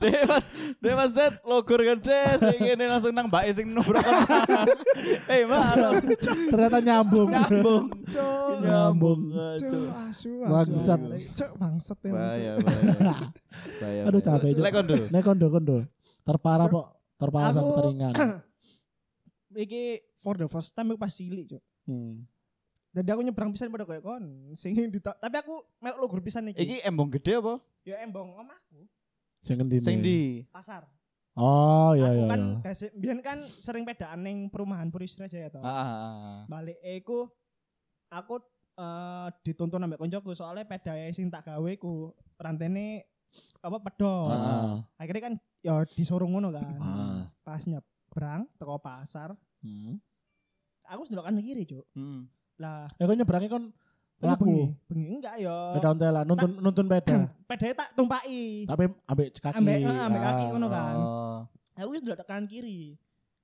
Dek mas, dek mas Z, logor kan des, kayak gini langsung nang mbak sing nubruk. Eh mbak, ano? [LAUGHS] Ternyata nyambung. nyambung, Cuk. nyambung. Cuk, asu, asu. Bangsat. Cuk, bangsat emang, Cuk. Bahaya, bahaya. bahaya. Aduh, capek, Cuk. Lek kondo. Nek kondo kondo. Terparah kok, terparah sama Aku- keringan. Iki for the first time aku pas cilik, Cuk. Hmm. Dan aku nyebrang pisan pada koyo kon. Sing dita- tapi aku melok lo grup pisan iki. Iki embong gede apa? Ya embong omahku, Sing endi nih? Sing di. pasar. Oh iya aku iya. kan iya. basic, biyen kan sering pedaan ning perumahan Purisra Jaya to. Ah, ah, ah. Balik aku aku eh, dituntun ambek koncoku soalnya pedae sing tak gawe ku rantene apa pedo. Ah. Akhirnya kan ya disorong ngono kan. Ah. Pas nyebrang teko pasar, Hmm. aku sedelok kanan kiri, Cuk. Hmm. Lah, Eh kok nyebrangnya kon iya laku. bengi, bengi enggak ya. Peda ontelan, nuntun nuntun [CLEARS THROAT] peda. Pedae tak tumpaki. Tapi ambek kaki. Hmm. Ambek eh, ambek kaki Ah. ngono kan. Oh. Aku wis ndelok kanan kiri.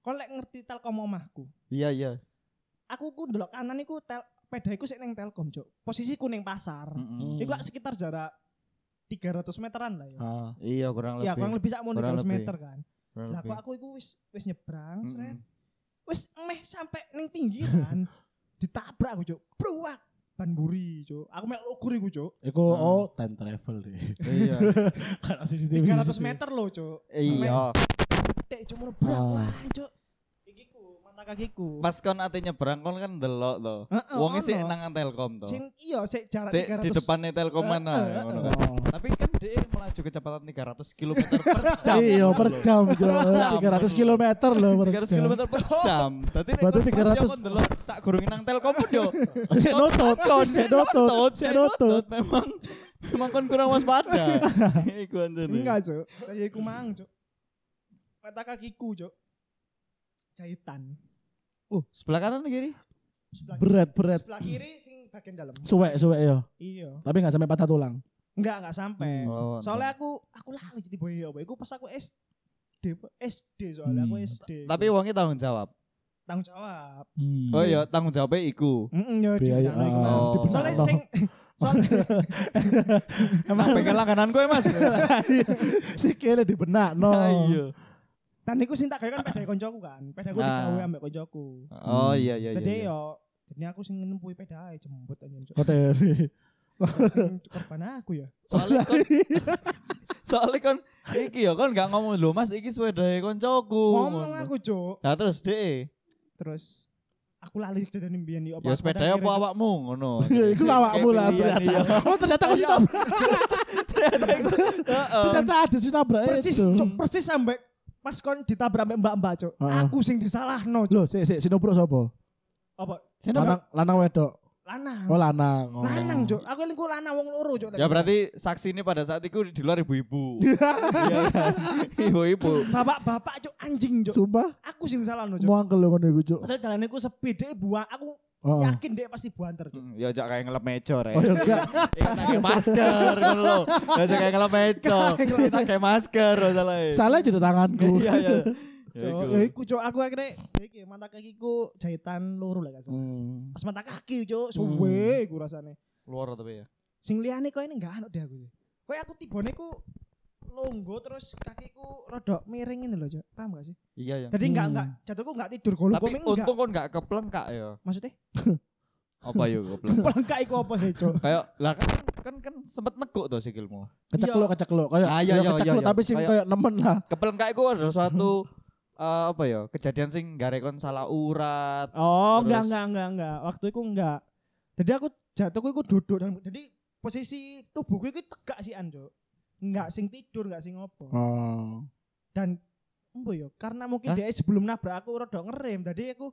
Kon lek ngerti Telkom omahku. Iya, iya. Aku ku ndelok kanan iku tel peda iku sik ning Telkom, Cuk. Posisiku ning pasar. Mm-mm. Iku lak sekitar jarak 300 meteran lah ya. Ah. hmm. Iya, kurang lebih. Ya kurang lebih sak mau Kurang 300 lebih. meter kan. kurang Lah lebih. kok aku iku wis wis nyebrang, Mm-mm. seret. Wis meh sampai ning pinggiran. [LAUGHS] Ditabrak aku, Cuk. Bruwak. Ban buri, Cuk. Aku melok lugur iku, Cuk. Iku Ah. oh time travel deh. [LAUGHS] Kan Iya. Karena CCTV. 300 Oh. meter loh, Cuk. Iya. Dek cuma berapa, Ah. Cuk? Ikiku, mata kakiku. Pas kon ate nyebrang kon kan delok to. Heeh, Wonge sik ono. nang Telkom to. Sing iya sik jarak Sik 300. di depannya Telkom mana Heeh, ya, ngono heeh. kan. Tapi kan dia melaju kecepatan 300 km per jam. Iya, per jam Jo. jam. 300 km loh per 300 jam. km per jam. Berarti nek Berarti kon pas 300 kon delok sak gurung nang Telkom pun yo. Sik nutut, sik nutut, sik sik nutut. nutut. Memang memang kon kurang waspada. Iku anjene. Enggak, Cuk. Tadi aku mang, Cuk. Mata kakiku, Cuk. Jahitan. Uh, sebelah kanan kiri. Sebelah kiri, Berat, berat. sebelah kiri sing bagian dalam. Suwek, suwek ya. Iya. Tapi nggak sampai patah tulang. Enggak, enggak sampai. Oh, Eh, Soalnya aku aku lali jadi boy apa. Iku pas aku SD Pak. SD soalnya aku Hmm. SD. Tapi wonge tanggung jawab. tanggung jawab. Hmm. Oh iya, tanggung jawabnya iku. Heeh, ya Biaya. ditanggung. Oh. dibenak Soalnya toh. sing [LAUGHS] soalnya Emang pengen langganan kowe, ya, Mas. [LAUGHS] Sikile dibenak no. Iya. dan iku sing tak gawe kan pedhe koncoku kan. Pedheku Ah. digawe ambek koncoku. Oh iya iya iya. Jadi iya. yo, jadi aku sing nempui peda ae jembut anjen. Cuk. [LAUGHS] Kode. Sing korban aku ya. Soalnya kon [LAUGHS] Soalnya kon iki ya kon gak ngomong lho Mas iki sepedae koncoku. Ngomong aku, Cuk. Nah terus deh, Terus aku lali kejadian mbiyen yo ya sepeda padahal apa kira- awakmu ngono. Ya, Iku awakmu lah Kayak pilihan, [LAUGHS] iya. ternyata. Oh ternyata kau sih nabrak. Iya. Ternyata ada sih nabrak Persis, itu. Cuk, persis sampe pas kon ditabrak ambek mbak-mbak, Cuk. Heeh. Ah. Aku sing disalahno, Cuk. Loh, sik sik sinobro sapa? Apa? Lanang lanang wedok. Lanang. Oh lanang. Oh. Nah, Lanang, Cuk. Aku lingku lanang wong loro, Cuk. Ya berarti saksi ini pada saat itu di luar ibu-ibu. Iya kan? [LAUGHS] Ibu-ibu. bapak-bapak, Cuk, anjing, Cuk. Sumpah, Nah, Aku sing disalahno, Cuk. mau angkel lo ngono iku, Cuk. Padahal jalan aku sepi, dia buang. Aku Oh. yakin dia pasti buanter, Cuk. Hmm, Ya ajak kayak ngelap meja ya. Oh ya enggak. Kita pakai masker ngono lho. Ya ajak kayak ngelap meja. Kita pakai masker salah. eh. Salah jadi tanganku. Iya [LAUGHS] iya. Ya Cuk, iku. ya iku, Cuk. Aku akhirnya, ya iki mata kakiku jahitan loro lah kasar. Hmm. Pas mata kaki, Cuk, suwe iku rasane. Luar tapi ya. Sing liyane kok ini enggak anut deh aku. Kok aku tibone ku longgo terus kakiku rodok miring ini lho, Cuk. Paham gak sih? Iya ya. Jadi enggak Hmm. enggak jatuhku enggak tidur golok Tapi komeng enggak. untung kon gak keplengkak ya. Maksudnya? Apa yo keplengkak? [LAUGHS] Pelengkak iku apa sih, Cuk? Kayak lah kan kan kan sempet neguk tuh sikilmu. Kecekluk, Iya. kecekluk. Kayak Ah, iya, ya iya, kecekluk iya, iya. tapi sing Kayak- kayak nemen lah. Kepelengkak itu adalah suatu [LAUGHS] eh, apa ya kejadian sing gak rekon salah urat. Oh, enggak, Terus? enggak, enggak, enggak. Waktu itu enggak. Jadi aku jatuhku itu duduk dan jadi posisi tubuhku itu tegak sih Anjo. Enggak sing tidur, enggak sing ngopo. Oh. Dan embo yo, karena mungkin Hah? dia sebelum nabrak aku rada ngerem. Jadi aku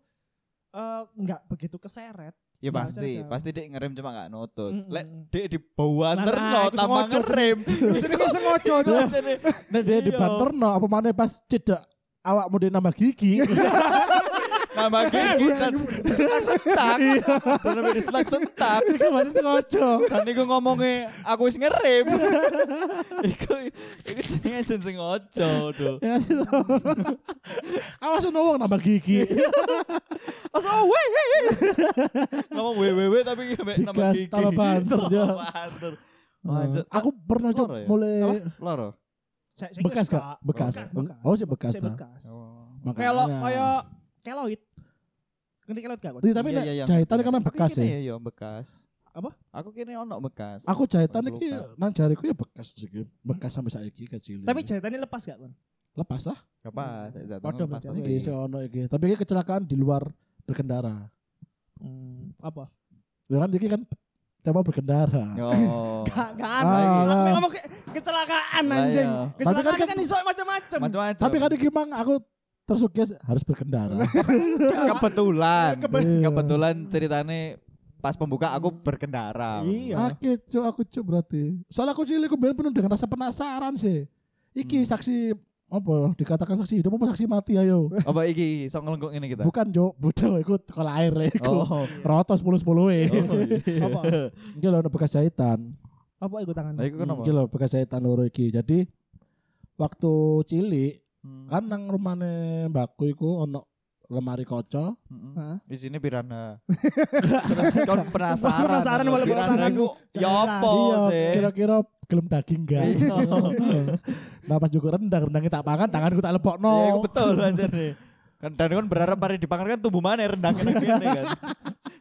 eh, enggak begitu keseret. Iya, Ya Nggak pasti, usah, Jam. pasti dek ngerem cuma gak nutut. Mm-mm. Lek dek dibawa Nah, nerno nah, iku tambah sengaja. [LAUGHS] ngerem. Jadi ini sengaja [LAUGHS] Cuk. Jadi, Nek dia Iya. [LAUGHS] dibanterno apa mana pas cedak awakmu dia nambah gigi. Mama gigi iya, dan diselak sentak. Dan sampai diselak sentak. Iku berarti sengaja. Dan iku ngomongnya aku wis ngerem. [LAUGHS] Iku iku jenenge sing sengaja, Duh. Ya, Awas ono wong nambah gigi. Pas oh, weh, hei, hei. Ngomong weh weh weh tapi sampai nama Digas, gigi. tambah banter, Oh. Ah. Jo. Tambah banter. Wajah. Aku pernah cok Loro ya? mulai Loro. Saya- saya bekas kira kak, bekas. Bekas, bekas. Oh sih bekas. Saya ta. bekas. Makanya. Kayak lo- kayak keloid. Ngerti keloid gak? Kon? Iya, tapi Iya, nek iya, iya, jahitan ngerti. kan Aku bekas kini ya. Ya iya, bekas. Apa? Aku kini ono bekas. Aku jahitan Luka. iki nang jariku ya bekas sih. Bekas sampai saiki kecil. Tapi jahitannya lepas gak kon? lepas lah. apa? Zat Padha ono berarti. pas-pas Iki iki. sih ono iki. Tapi iki kecelakaan di luar berkendara. Hmm, apa? Ya kan iki kan tema berkendara. Yo. [LAUGHS] Gak, gak Ah, ada. Aku lah. ngomong ke- kecelakaan Lah, anjing. iya. Kecelakaan Tapi kan- kan iso macam-macam. Macam-macam. Tapi kan iki mang aku tersugesti harus berkendara. kebetulan Kebe- Iya. kebetulan ceritane pas pembuka aku berkendara Iya. Ake cuk aku cuk berarti. Soalnya aku cilik aku bener penuh dengan rasa penasaran sih. Iki Hmm. saksi apa dikatakan saksi hidup apa saksi mati ayo. apa iki song ngelengkung ini kita Bukan cuk, bodoh iku teko lahir ya, iku. oh Roto 10-10 e. [LAUGHS] Oh, iya. [LAUGHS] Apa? Iki lho ada bekas jahitan. Apa ikut tangan? Nah, iku kenapa? Iki lho bekas jahitan loro iki. Jadi waktu cilik Hmm. kan nang rumane mbakku iku ono lemari kaca. Mm-mm. Hah? Di sini [LAUGHS] pirana. Terus Hmm. kon penasaran. Penasaran Iya, walau bawa Piranha tanganmu. iku Ya Jangan apa sih? Iya, kira-kira gelem daging gak? Iya. [LAUGHS] nah pas juga rendang, rendangnya tak pangan, tanganku tak lepokno. Ya iku Oh. betul anjir nih. Kan dan kan berharap mari dipangan kan tumbuh mana rendang kena kene [LAUGHS] kan.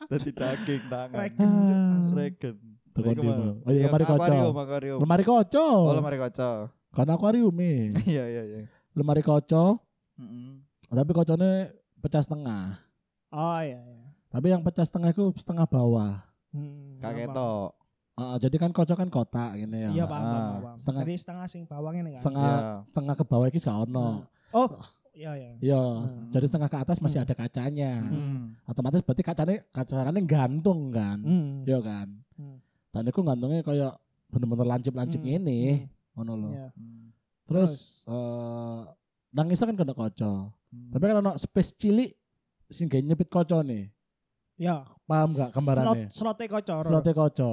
Dadi daging tangan. Regen, Cuk. Ah. Asli. Sregen. Tuh, Iku kondi, mah. Bro. Oh, iya, Iya, lemari kaca. Akuarium, akuarium. Lemari kaca. Oh, lemari kaca. Karena akuarium eh. [LAUGHS] Iya, iya, iya. Lemari kaca, Mm-mm. tapi kocone pecah setengah. Oh iya iya. Tapi yang pecah setengah itu setengah bawah. Hmm, Kakek apa? tok. Ah, jadi kan kaca kan kotak gini ya. Iya paham, paham, Ah, paham. setengah. Jadi setengah sing bawangnya nih Iya. kan. Setengah setengah ke bawah iki gak ono. Oh, iya iya. Iya, Hmm. jadi setengah ke atas masih ada kacanya. Iya. Mm. Otomatis berarti kacanya kacarane gantung kan. Hmm. Iya kan. Hmm. Dan iku gantungnya kayak bener-bener lancip-lancip Hmm, ngene, hmm. ngono lho. Iya. Terus eh nangisnya kan kena kaca. Hmm. Tapi kan ono space cilik sing gak nyepit kaca nih. Iya. Paham gak Slot gambarannya? slote kocor. Slotnya kaca.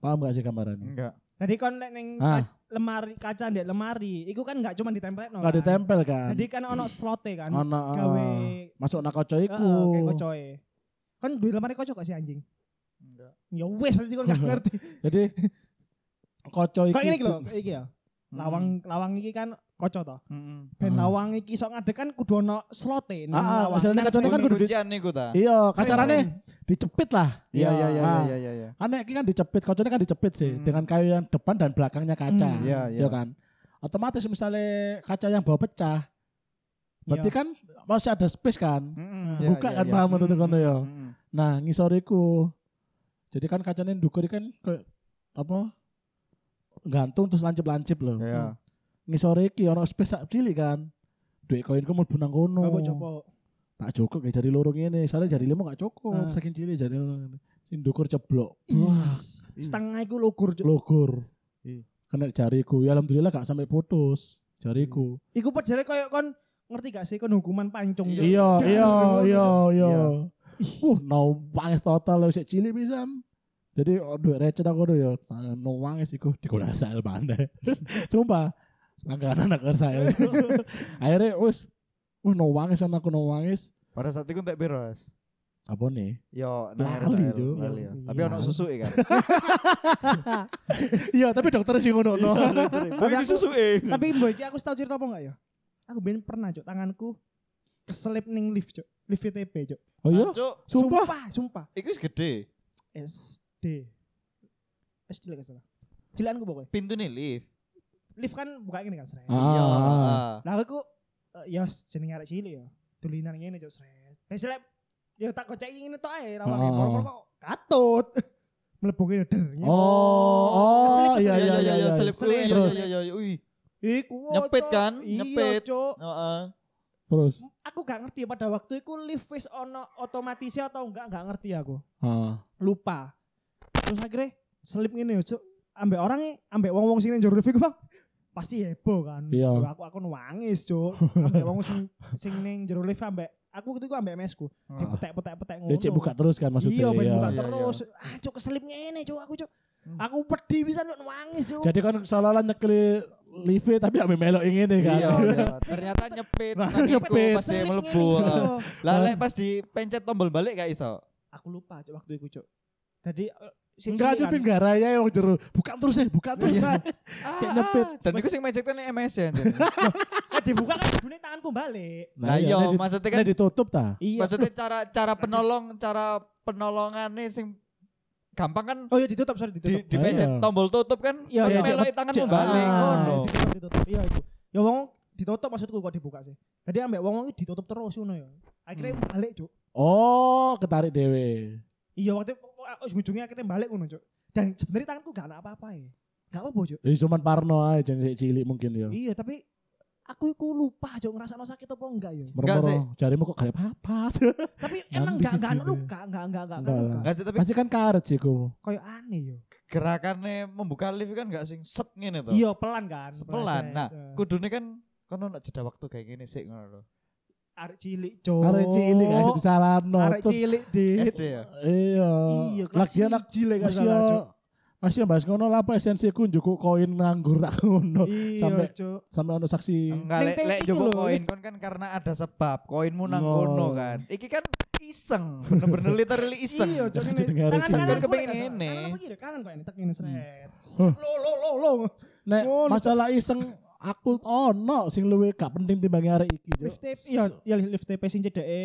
Paham gak sih Hmm. gambarannya? enggak. Jadi kon nek ning Ah. ka- lemari kaca ndek lemari, iku kan gak cuma ditempel no. Gak kan. ditempel kan. Jadi kan ono slote kan. Ono eh, Gawe Ah, masuk nak kaca Heeh, kayak iku. kocoe. Kan duwe lemari kocok gak sih anjing? Enggak. Ya wes berarti kon gak Iya. ngerti. Jadi kaca Kok iki. ini lho, iki ya. Hmm. Lawang lawang iki kan kocok toh. Mm-mm. Ben Ah. lawang iki sok ngadeg kan kudu ono slote ning Ah, ah, lawang. masalahnya Nang kacone kan frame- kudu di- kuncian nih ta. Iya, kacarane dicepit lah. Iya iya iya Ah, iya iya iya. Kan nek iki kan dicepit, kocoknya kan dicepit sih Hmm. dengan kayu yang depan dan belakangnya kaca. Hmm, iya, iya. kan? Otomatis misalnya kaca yang bawah Iya. pecah, berarti kan masih ada space kan. Mm-mm, Iya, iya, Buka iya, kan iya. paham untuk Mm-mm, kono ya. mm-mm. Nah, ngisoriku. Jadi kan kacanya ndukur kan kayak apa? Gantung terus lancip-lancip loh. Iya. Ngisore iki ono space sak cilik kan. Duit koinku mlebu nang kono. Coba coba. Tak cukup ya jari loro ngene. Soalnya jari limo gak Ah. cukup. Saking cilik jari loro ngene. Sing ndukur ceblok. Wah, Iya. setengah iku lugur. Cuk. Logor. Ih. Kena jariku. Ya alhamdulillah gak sampai putus jariku. Iku padahal koyo kon ngerti gak sih kon hukuman pancung. Cuk. Iya, iya, iya, iya. Iya. Uh, no wangis total wis cilik pisan. Jadi oh, duit recet aku tuh ya, tangan no wangis iku digoda sael pandai. [LAUGHS] Sumpah, langganan anak [LAUGHS] sael. Akhirnya wis wah no wangis aku no wangis. Pada saat itu tak beres. Apa nih? Yo, Lali, Jo. ya. Tapi ono susu [LAUGHS] kan. Iya, tapi dokter sih ngono no. Tapi [LAUGHS] Tapi ini aku- susu eh. Tapi mbok iki aku tau cerita apa enggak ya? Aku ben pernah cuk tanganku keselip ning lift cuk. Lift VTB cuk. [LAUGHS] Oh iya, Cuk, sumpah. sumpah, sumpah. Iku wis gede. SD. SD lah gak salah. Cilan aku pokoknya. Pintu nih lift. Lift kan buka gini kan seret. Ah. Iya. Lah aku eh, ya jenenge arek cilik ya. Tulinan ngene cuk seret. Wis lek ya tak koceki ngene tok ae lawane Ah. moro kok katut. [LAUGHS] Mlebu ngene der. ngene. Oh, oh, Keselip, iya, keselip, iya, iya, iya, Selip Selip, iya, terus. iya, iya, iya. Ui. Iku wo, Cuk. Nyepit kan? Iya, Nyepit. Cuk. Heeh. kan? Terus, Aku gak ngerti pada waktu itu lift wis ono otomatisnya atau enggak gak ngerti aku. ah, Lupa. Terus akhirnya selip ngene yo Cuk. Ambek orangnya, ambek wong-wong sing njero lift iku Bang. Pasti heboh kan. Iya. Yo, Aku aku nangis, Cuk. Ambek wong sing sing ning jero lift ambek aku waktu itu ambek mesku Heeh. dipetek-petek-petek ngono Ya cek buka terus kan maksudnya. iya ben iya. buka Ah. Iya, terus ah cuk keselip ngene cuk aku cuk Hmm. aku pedih bisa cuk nangis cuk Jadi kan seolah-olah nyekeli live tapi ambil melok ingin nih kan. [LAUGHS] Iya, iya. ternyata nyepit. Nah, nang iku nyepit. Pas dia Keselip melebu. ah. ngene, heeh. cuk. Lah lek pas dipencet tombol balik gak iso. aku lupa cuk waktu itu cuk jadi eh, sing Enggak cilik aja kan. pinggara raya yang jeru. Buka terus eh, buka terus Iya. eh. Ah, Cek nyepit. Dan iku sing mencet kan MS ya. [LAUGHS] anjir. Eh, dibuka kan dunia tanganku balik Lah ini iya, Nah, di- maksudnya ini kan ditutup ta. iya [LAUGHS] maksudnya cara cara penolong, cara penolongane sing gampang kan oh iya ditutup sorry di, ditutup dipencet Iya. tombol tutup kan Iya, terus iya. meloki tanganmu Cek- balik Ah, ngono. ditutup, ditutup. Iya itu. Ya wong ditutup maksudku kok dibuka sih. Jadi ambek wong wong ditutup terus ngono ya. Akhirnya Hmm. balik, Cuk. Oh, ketarik dewe. Iya waktu ujung-ujungnya akhirnya balik ngono, Cuk. Dan sebenarnya tanganku gak ada apa-apa ya. Gak apa-apa, Cuk. Ini cuman parno aja jangan cek cilik mungkin ya. Iya, tapi aku iku lupa, Cuk, ngerasa sakit apa enggak ya. Enggak sih. Merem-merem jarimu kok gak apa-apa. [LAUGHS] Tapi Nah, emang bisa gak gak ada juga. luka, gak gak gak gak Enggak luka. Enggak sih tapi Pasti kan karet sih Oh. ku. Kayak aneh ya. gerakannya membuka lift kan gak sing set ngene to. Iya, pelan kan. Pelan. Nah, Aku kudune kan kono nak jeda waktu kayak gini sih ngono lho. arek cilik, Cuk. Arek cilik aja disalahno. Arek Terus cilik, Dit. SD ya. iya. Iya, kelas Lagian aku siji lek gak masih ya. salah, Cuk. masih bahas ngono lah apa esensi ku njukuk koin nganggur tak [LAUGHS] ngono. Iya, Oh, sampai- Cuk. Sampai ono saksi. Enggak, Iya. Ning lek lek TV jogo lho, koin wis- Iya. kon kan karena ada sebab koinmu nang No. kono kan. Iki kan iseng, bener-bener literally iseng. Iya, cok Jadi ini. ngarep Tangan cok. kanan Kan kepengin kepengin ini. ini. Kanan apa kiri? Kanan kok ini tek ini seret. Huh. Lo lo lo lo. Nek Ngono, masalah iseng aku ono sing luwe gak penting timbang arek iki. Cuk. Lift tape ya ya lift tape sing cedeke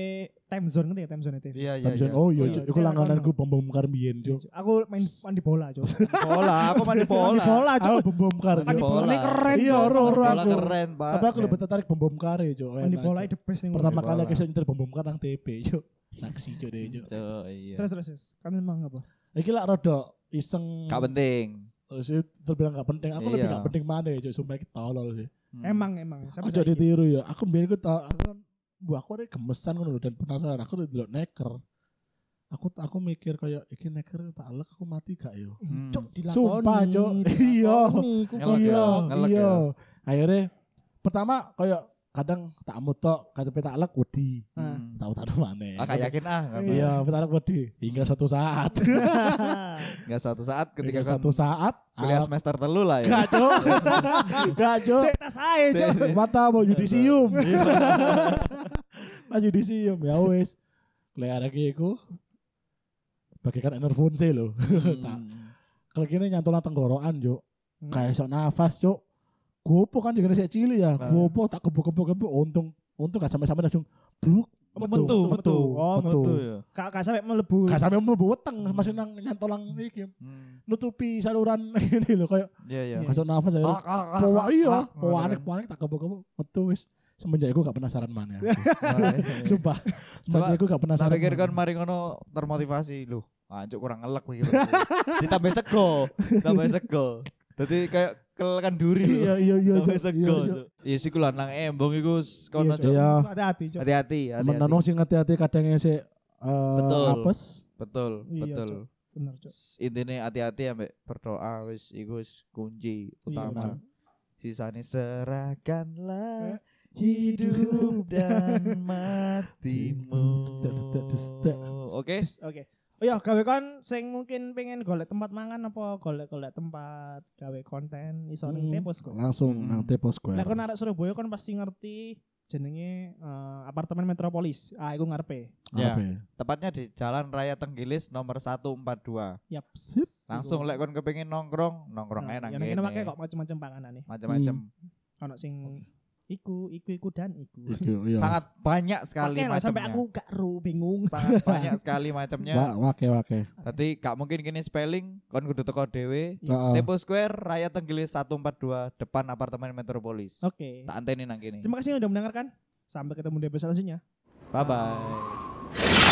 time zone ngerti ya time zone itu. Iya, iya. Thompson, iya. oh iya, Iya, Cuk. iku iya, langganan kono. ku bom-bom biyen, Cuk. Aku main mandi bola, Cuk. Bola, aku [LAUGHS] mandi Mandi bola. bola, Iya, Aku Cuk. Kan bom-bom kar. Mandi Cuk. bola ini keren. Iya, Cuk. ro, ro. Bola aku. keren, Pak. Iya. Tapi aku lebih tertarik bom-bom kar ya, Cuk. Mandi Enak, Kan bola Cuk. the best ning. Pertama Mandi kali bola. aku nyetir bom-bom kar nang TP, Cuk. Saksi Cuk deh, Cuk. Iya. Cuk, iya. Terus terus. terus. Kamu emang apa? Hmm. Iki lak rada iseng. Gak penting. Eh, sih, terbilang gak penting. Aku lebih Iya. gak penting mana ya, Cuk. Sumpah iki tolol sih. Hmm. Emang emang. Sampai gitu. Aja saiki. ditiru ya. Aku biar aku tau, aku kan, bu aku ada gemesan ngono lho, dan penasaran. Aku udah delok neker. Aku aku mikir kayak iki neker tak elek aku mati gak ya?" yo. Hmm. Cuk dilakoni. Sumpah, [LAUGHS] Cuk. Iya. Iku Ngelak ya, Iya, ngelek iya. ya. Akhirnya pertama kayak kadang tak mutok, kadang tak elek wedi. [LAUGHS] Tahu Hmm. tak mana. Ah, gak yakin ah, gak apa. Nah. Iya, tak elek wedi hingga satu saat. Gak satu saat ketika Hingga kan satu saat kuliah ah, semester telu lah ya. Iya, Gak, Cuk. [LAUGHS] Gak, Cuk. Cek tas ae, [LAUGHS] Cuk. Mata mau yudisium. [LAUGHS] Mas yudisium ya wis. Lek arek iki iku bagaikan enervonse lho. Tak. Hmm. Kalau gini nyantol nang tenggorokan, Cuk. Hmm. Kayak sok nafas, Cuk. Gopo kan jenenge sik cilik ya. Ah. Gopo tak gebuk-gebuk untung untung gak sampai-sampai langsung bluk. Metu, metu. Oh, metu. Betul ya. Kak kak sampe mlebu. Gak sampai mlebu weteng, masih nang nyantol nang iki Hmm. nutupi saluran [LAUGHS] ini lho kayak Iya, iya. gak sok nafas ya. Ah, ah, ah, Powa ah, ah, iya, ah. powa aneh, powa aneh tak gebuk-gebuk metu wis. Semenjak aku gak penasaran [LAUGHS] mana. Nah, iya, iya. Sumpah. Sebenarnya aku gak Tak penasaran. pikir kan [LAUGHS] mari ngono termotivasi lu. Anjuk kurang ngelek [LAUGHS] iki. Ditambah sego, tambah sego. Dadi kayak kelekan duri Iya lho. iya iya. Tambah Cuk. sego. Iya, Cuk. Cuk. Iya sik lah nang embong iku s- Iya, kono Cuk. Cuk. Hati-hati, Cuk. Hati-hati, Temen hati-hati. nano sing hati-hati kadangnya sih eh, Betul. apes. Betul, Iya, betul. Cuk. Bener, Cuk. Intine hati-hati ambek berdoa wis iku wis kunci bener. utama. Sisane serahkanlah hidup dan matimu. Oke. Yes, Oke. Oh iya, gawe kon sing mungkin pengen golek tempat mangan apa golek-golek tempat gawe konten iso ning Hmm. Tepos kok. Langsung Mm. nang Tepo Lah Square. kon arek Surabaya kon pasti ngerti jenenge eh, apartemen Metropolis. Ah, iku ngarepe. Apa Ya, ya? tepatnya di Jalan Raya Tenggilis nomor 142. Yap. langsung lek kon kepengin nongkrong nongkrong ae nang enak. Ya nek kene make kok macam-macam panganane. macam-macam Ono sing iku, iku, iku dan iku. Iki, iya. sangat banyak sekali Oke lah, sampai macamnya aku gak ru bingung. [LAUGHS] sangat banyak sekali macamnya Wa- wake wake. berarti gak mungkin kini spelling kon kudu teko dhewe Oh. Heeh. Tepo Square Raya Tenggilis 142 depan apartemen Metropolis Oke. tak anteni nang kene Terima kasih yang udah mendengarkan. Sampai ketemu di episode selanjutnya. bye bye